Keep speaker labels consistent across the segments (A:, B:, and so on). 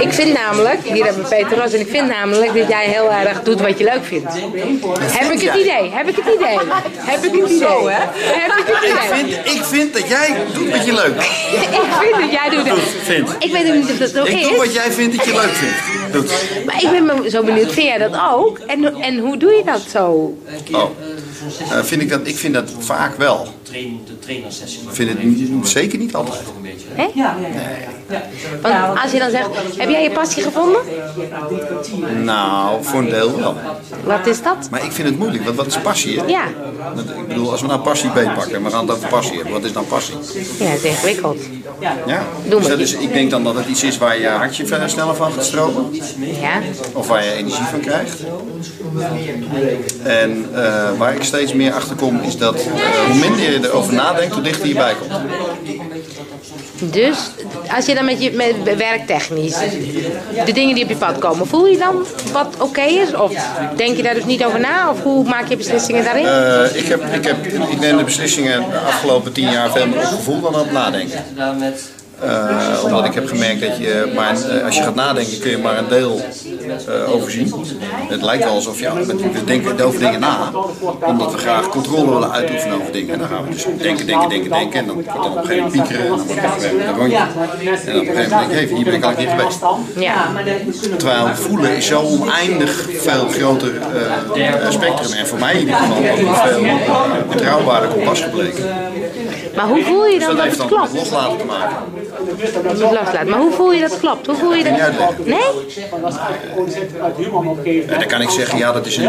A: ik vind namelijk, hier hebben we Peter Ros, en ik vind namelijk dat jij heel erg doet wat je leuk vindt. Heb ik het idee? Heb ik het idee? Heb ik het idee? Heb ik het
B: Ik
A: idee?
B: vind, ik vind dat jij doet wat je leuk
A: Ik vind dat jij doet
B: vindt.
A: Ik weet ook niet of dat zo
B: Ik doe wat
A: is,
B: jij vindt dat je leuk vindt. Doet.
A: maar ik ben me zo benieuwd, vind jij dat ook? En, en hoe doe je dat zo?
B: Oh. Eh, vind ik, dat, ik vind dat vaak wel.
C: train, de trainersessie.
B: Ik vind het niet- zeker niet altijd.
C: Nog een beetje.
A: Want als je dan zegt, heb jij je passie gevonden?
B: Nou, voor een deel wel.
A: Wat is dat?
B: Maar ik vind het moeilijk, want wat is passie? Hè?
A: Ja,
B: Want Ik bedoel, als we nou passie B pakken en we gaan het over passie hebben, wat is dan passie?
A: ja dat is ingewikkeld.
B: Ja?
A: Doe maar.
B: Dus, dat is- ik denk dan dat het iets is waar je hartje verder sneller van gaat stromen.
A: Ja,
B: Of waar je energie van krijgt. En eh, waar ik steeds meer achter kom is dat eh, hoe minder je erover nadenkt, hoe dichter je bij komt.
A: dus als je dan met je met werktechnisch de dingen die op je pad komen, voel je dan wat oké is? Of denk je daar dus niet over na? Of hoe maak je beslissingen daarin?
B: Eh, ik, heb, ik, heb, ik neem de beslissingen de afgelopen tien jaar veel meer op gevoel dan op nadenken.
C: Gedaan met
B: Eh, omdat ik heb gemerkt dat je, maar eh, als je gaat nadenken kun je maar een deel eh, overzien. Het lijkt wel alsof ja, we we denken over dingen na, omdat we graag controle willen uitoefenen over dingen. En dan gaan we dus denken, denken, denken, denken. En dan wordt dan op een gegeven moment piekeren en dan wordt het op een gegeven moment een rondje. En dan op een gegeven moment denk je, hé, hier ben ik al een keer geweest.
A: Ja.
B: Terwijl voelen is zo oneindig veel groter eh, eh, spectrum. En voor mij in ieder geval ook een veel betrouwbaarder kompas gebleken. Dus
A: Maar hoe voel je dan
B: Dat
A: dat
B: heeft
A: het
B: dan met
A: klopt?
B: loslaten te maken.
A: Dat je het loslaat. Maar hoe voel je dat klopt? Hoe voel je
B: Kun jij het
A: dat?
B: leggen?
A: Nee?
D: Maar dat is eigenlijk gewoon zitten uit Human opgeven.
B: En dan kan ik zeggen, ja, dat is een,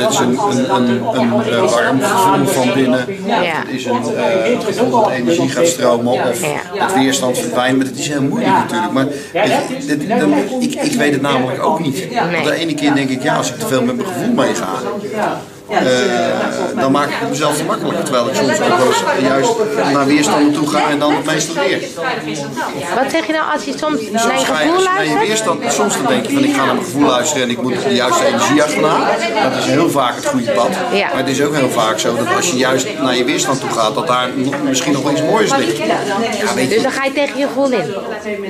B: dat is een, een, een, een, eh, warm gevoel van binnen.
A: Ja.
B: Het is een eh, het gevoel dat energie gaat stromen of
A: Ja.
B: dat weerstand verdwijnt. Maar het is heel moeilijk natuurlijk. Maar het- dit- dan- ik, ik weet het namelijk ook niet. Want de ene keer denk ik, ja, als ik te veel met mijn gevoel meega, eh, dan maak ik het mezelf gemakkelijker. Terwijl ik soms ook wel eens juist naar weerstanden toe ga en dan het meestal weer.
A: Wat zeg je nou als je soms naar je
B: Soms ga je,
A: gevoel
B: als je naar je
A: luistert?
B: weerstand, soms dan denk je van ik ga naar mijn gevoel luisteren en ik moet de juiste energie achterna. Dat is heel vaak het goede pad.
A: Ja.
B: Maar het is ook heel vaak zo dat als je juist naar je weerstand toe gaat, dat daar nog- misschien nog wel iets moois ligt. Ja, weet
A: Dus
B: je,
A: dan ga je tegen je gevoel in.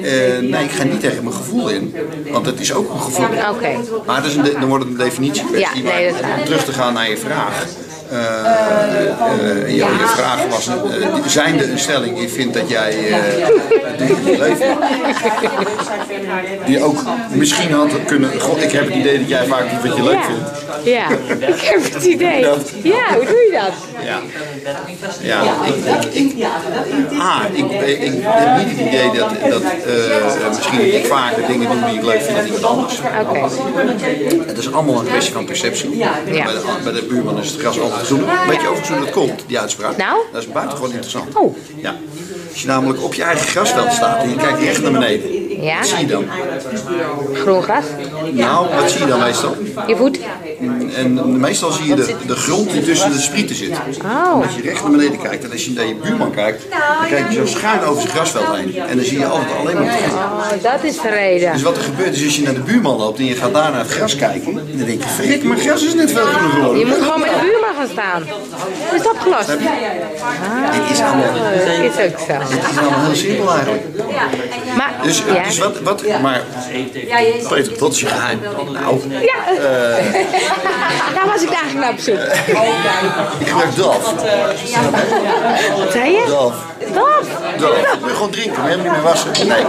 B: eh, nee, ik ga niet tegen mijn gevoel in, want het is ook een gevoel.
A: Oké.
B: Maar het is een de- dan wordt het een definitie kwestie.
A: Ja, nee, dat is
B: maar
A: waar.
B: om terug te gaan naar je vraag. eh, eh, je, je vraag was, eh, zijnde een stelling, je vindt dat jij eh dingen in je leven die ook misschien had kunnen, god, ik heb het idee dat jij vaak doet wat je leuk
A: Ja.
B: vindt.
A: Ja. Ik heb het idee. Ja, hoe doe je dat?
B: Ja. Ja, ik, ik, ik, ah, ik, ik, ik heb niet het idee dat, dat eh, misschien dat ik vaker dingen doe die ik leuk vind dan iemand anders.
A: Oké.
B: Het is allemaal een kwestie van perceptie. Bij, de, bij de buurman is het gras altijd groener. Weet je overigens hoe dat komt, die uitspraak?
A: Nou?
B: Dat is buitengewoon interessant.
A: Oh.
B: Ja. Als je namelijk op je eigen grasveld staat en je kijkt recht naar beneden,
A: Ja,
B: wat zie je dan?
A: groen gras.
B: Nou, wat zie je dan meestal?
A: Je voet.
B: En meestal zie je de, de grond die tussen de sprieten zit.
A: Oh.
B: Als je recht naar beneden kijkt en als je naar je buurman kijkt, dan kijk je zo schuin over zijn grasveld heen. En dan zie je altijd alleen maar het gras.
A: Oh, dat is de reden.
B: Dus wat er gebeurt is, als je naar de buurman loopt en je gaat daar naar het gras kijken, dan denk je, frik, mijn gras is net veel groener geworden.
A: Je moet gewoon bij de buurman gaan staan. Is dat opgelost?
B: Het is allemaal, het
A: Is ook zo.
B: is allemaal heel simpel eigenlijk.
A: Maar,
B: Dus,
A: ja.
B: dus wat, wat, maar Peter, wat is je geheim? Nou,
A: Ja.
B: Eh.
A: Daar was ik eigenlijk naar op zoek.
B: ik gebruik Dalf.
A: Wat zei je?
B: Dalf.
A: Daf.
B: Dalf. Moet je gewoon drinken, maar helemaal niet meer wassen. Nee.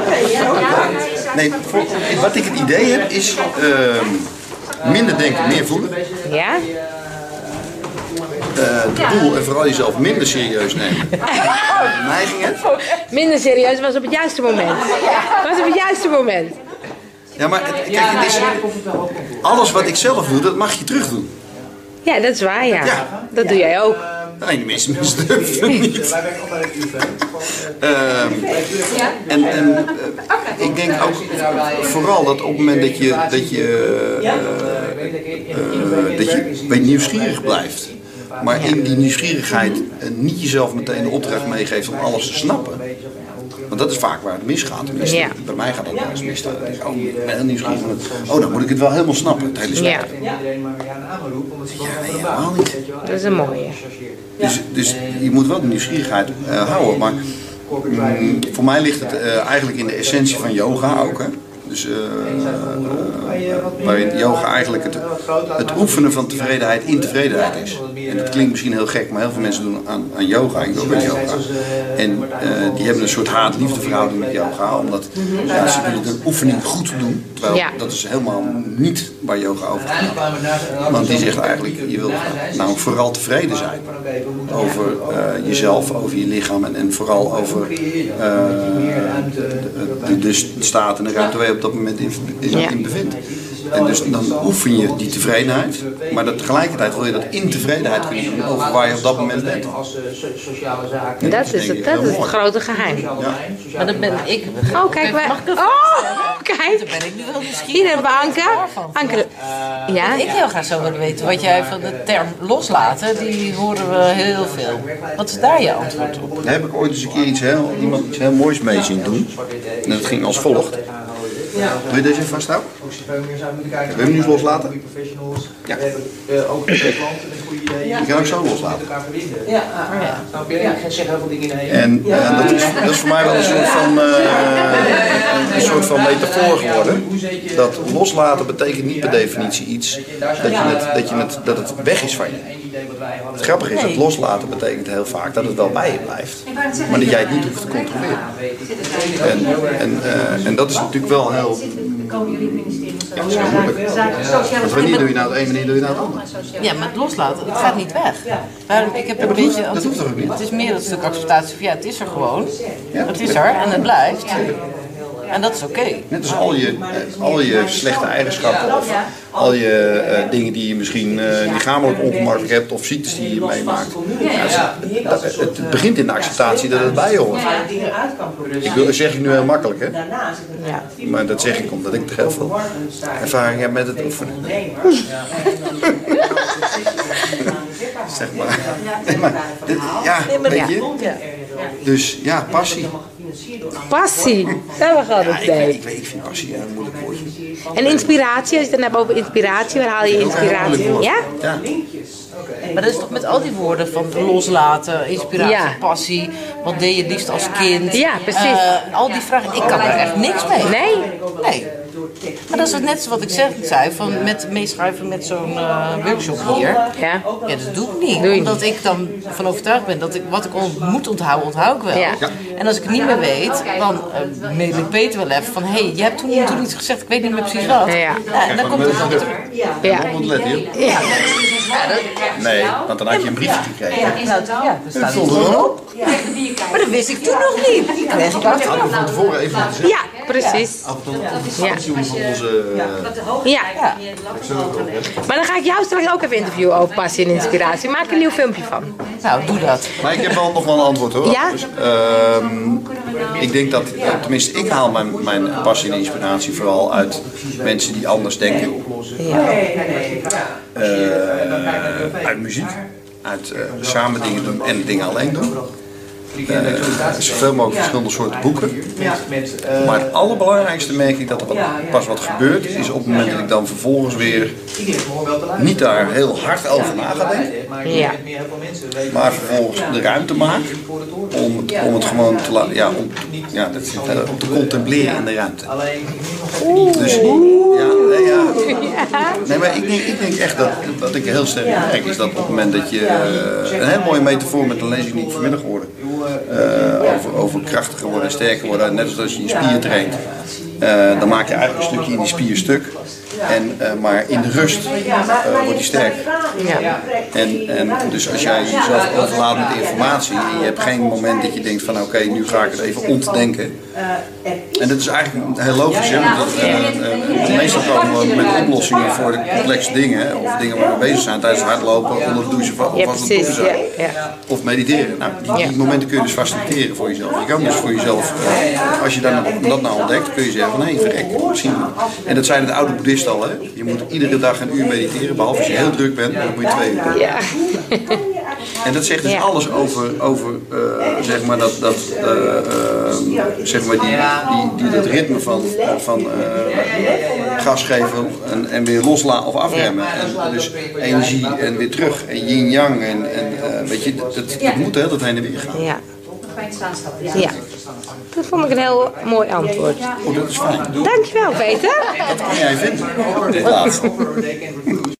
B: Nee, voor- wat ik het idee heb is, ehm, minder denken, meer voelen.
A: Ja?
B: eh, het doel en vooral jezelf minder serieus nemen. De neigingen.
A: Minder serieus was op het juiste moment. Was op het juiste moment.
B: Ja, maar het- kijk, het is, alles wat ik zelf doe, dat mag je terug doen.
A: Ja, dat is waar, ja.
B: Ja.
A: Dat doe jij ook.
B: Alleen de meeste mensen durven het niet. Ehm, en en eh, ik denk ook vooral dat op het moment dat je, dat je, eh, eh, dat je weet, nieuwsgierig blijft. Maar in die nieuwsgierigheid eh, niet jezelf meteen de opdracht meegeeft om alles te snappen. Want dat is vaak waar het misgaat. Tenminste,
A: Ja.
B: bij mij gaat dat wel eens mis. Dan denk ik, Oh, ik ben heel nieuwsgierig. Oh, dan moet ik het wel helemaal snappen, het hele spel.
A: Ja.
B: Helemaal niet.
A: Dat is een mooie.
B: Dus, dus je moet wel de nieuwsgierigheid mm, eh, houden. Maar mm, voor mij ligt het eh, eigenlijk in de essentie van yoga ook. Hè? Dus, eh, eh, waarin yoga eigenlijk het, het oefenen van tevredenheid in tevredenheid is. En dat klinkt misschien heel gek, maar heel veel mensen doen aan, aan yoga. Ik doe ook met yoga. En eh, die hebben een soort haat-liefde verhouding met yoga. Omdat ja, ze willen de oefening goed doen. Terwijl
A: Ja.
B: dat is helemaal niet waar yoga over gaat. Want die zegt eigenlijk, je wil namelijk vooral tevreden zijn over eh, jezelf, over je lichaam en, en vooral over eh, de, dus, de, de staat en de ruimte waar je op dat moment in, in,
A: Ja.
B: in bevindt. En dus dan oefen je die tevredenheid, maar dat tegelijkertijd wil je dat in tevredenheid kunnen doen over waar je op dat moment bent.
C: Als eh, so- sociale zaken.
B: Ja.
A: Dat is het, dat is het grote geheim.
C: Sociaal domein, sociaal
E: Maar dan ben ik.
A: Oh, kijk, wij...
E: Mag ik een
A: Oh, kijk.
E: ben ik nu wel nieuwsgierig.
A: Hier hebben we Anke. Anke. Ja?
E: Ik heel graag zou willen weten wat jij van de term loslaten, die horen we heel veel. Wat is daar je antwoord op?
B: Daar heb ik ooit eens een keer iets heel, iemand iets heel moois mee zien doen. En dat ging als volgt. Wil je deze even vasthouden?
C: Ook ze veel meer zouden moeten kijken.
B: Wil je hem nu eens loslaten?
C: Goede professionals.
B: Ja.
C: We hebben eh, ook met de klanten een goede
B: Je
C: idee.
B: kan ook zo loslaten.
C: Elkaar verbinden.
E: Ja, ah, ja.
C: Snap je? Ik ga zeggen heel veel dingen in één.
B: En eh, dat, is, dat is voor mij wel een soort van, eh, een- een soort van metafoor geworden. Dat loslaten betekent niet per definitie iets dat, je het, dat, je het, dat het weg is van je.
C: Eén idee wat wij hadden.
B: Het grappige is, het loslaten betekent heel vaak dat het wel bij je blijft. Maar dat jij het niet hoeft te controleren. En, en, eh, en dat is natuurlijk wel heel...
F: Komen jullie ministerie of zo?
B: Ja, dat is heel moeilijk.
F: Zaken- sociale
B: Want wanneer doe je nou het een, wanneer doe je nou het ander?
E: ja, maar het loslaten, dat gaat niet weg. Daarom, ik heb een
B: dat hoeft-
E: beetje.
B: dat hoeft toch ook niet?
E: Het is meer dat stuk acceptatie van ja, het is er gewoon.
B: Ja.
E: Het is er en het blijft. En dat is oké.
B: Net als al je, eh, al je slechte eigenschappen of al je eh, dingen die je misschien eh lichamelijk ongemakkelijk hebt of ziektes die je meemaakt. Ja, ze- dat- eh, het begint in de acceptatie dat het bij je hoort.
G: waar je dingen uit kan proberen.
B: Ik wil, dat zeg ik nu heel makkelijk, hè?
G: Daarna zit het
A: Ja.
B: Maar dat zeg ik omdat ik er heel veel ervaring heb met het oefenen.
G: Ondernemer.
B: Zeg maar. Nee, maar dit, ja, weet je? Dus ja, passie.
A: Passie. Dat gaat
B: Ja,
A: het
B: ik,
A: zijn.
B: weet- ik, weet- ik vind passie een heel moeilijk woordje.
A: En inspiratie, als je het dan hebt over inspiratie, waar haal je
B: Ook een heel moeilijk
A: inspiratie?
B: woord.
A: Ja?
B: Ja.
E: Maar dat is toch met al die woorden van loslaten, inspiratie,
A: Ja.
E: passie. Wat deed je het liefst als kind?
A: Ja, precies.
E: Eh, al die vragen. Ik kan er echt niks mee.
A: Nee?
E: Nee. Maar dat is het net zoals ik zeg, zei, van met meeschrijven met zo'n eh, workshop hier.
A: Ja.
E: Ja, dat doe ik niet.
A: Doe je
E: omdat ik dan van overtuigd ben dat ik wat ik on- moet onthouden, onthoud ik wel.
A: Ja. Ja.
E: En als ik het niet meer weet, dan eh, mail ik Peter wel even van... hé, hey, je hebt toen, toen iets gezegd, ik weet niet meer precies wat.
A: Ja.
E: en dan komt het achter.
A: Ja.
B: Ontlet, joh.
A: Ja.
B: Nee,
F: Nou,
B: want dan had je een briefje gekregen.
E: Ja, dat staat
B: Stond er wel op?
E: Maar dat wist ik toen nog niet. Die kreeg ik
B: Dat hadden we van tevoren even moeten zeggen.
A: Ja, precies.
B: Af en toe
A: Ja.
B: doen van onze... eh,
A: Ja. Maar dan ga ik jou straks ook even interviewen over passie en inspiratie. Maak er een nieuw filmpje van.
E: Nou, doe dat.
B: Maar ik heb wel nog wel een antwoord hoor.
A: Ja?
B: Dus, ehm,
F: nou
B: ik denk dat, eh, tenminste, ik haal mijn, mijn passie en inspiratie vooral uit mensen die anders denken. Eh, uit muziek, uit eh, samen dingen doen en dingen alleen doen. Eh, zoveel mogelijk verschillende soorten boeken.
C: Met, eh,
B: Maar het allerbelangrijkste merk ik dat er wat- pas wat gebeurt, is op het moment dat ik dan vervolgens weer
C: ik denk gewoon wel te luisteren.
B: niet daar heel hard over na ga denken.
C: Maar
A: Ja.
C: ik denk meer heel veel mensen weten
B: maar vervolgens de ruimte maak
C: voor het oordeel.
B: om, om het gewoon te laten, ja, om, ja, dat is het, hè, om te contempleren in de ruimte.
C: Alleen, ik moet nog even
B: Dus, ja, nee, ja. Nee, maar ik denk, ik denk echt dat, dat ik heel sterk merk is dat op het moment dat je, eh, een hele mooie metafoor met een lezing die ik vanmiddag hoorde, eh, over, over krachtiger worden en sterker worden, net als als je je spier traint. eh, dan maak je eigenlijk een stukje in die spier stuk. En, eh, maar in de rust eh, wordt die sterker.
A: Ja.
B: En, en dus als jij jezelf overlaat met informatie en je hebt geen moment dat je denkt van oké, nu ga ik het even ontdenken. En dat is eigenlijk heel logisch, hè? want dat, eh, eh, meestal komen we met oplossingen voor de complexe dingen. Of dingen waar we bezig zijn tijdens het hardlopen, onder het douchen of
A: Ja,
B: als we het doen
A: precies. Ja.
B: zijn.
A: Ja.
B: Of mediteren. Nou, die, die
A: Ja.
B: momenten kun je dus faciliteren voor jezelf. Je kan dus voor jezelf, eh, als je daar, dat nou ontdekt, kun je zeggen van hé, verrek, misschien. En dat zeiden de oude boeddhisten al, hè? Je moet iedere dag een uur mediteren, behalve als je heel druk bent, dan moet je twee uur. doen.
A: Ja.
B: En dat zegt dus
A: Ja.
B: alles over, over eh, zeg maar, dat, dat, eh, eh, zeg maar die, die, die, dat ritme van, eh, van eh, gas geven en, en weer loslaten of afremmen. En dus energie en weer terug en yin-yang en, en eh, weet je, dat, dat, dat moet hè, dat heen en weer gaan.
A: Ja. Ja, dat vond ik een heel mooi antwoord.
B: Oh, dat is fijn.
A: Dankjewel, Peter.
B: Wat kan jij vinden? Dit laatste. Eh,
C: Or they can recruit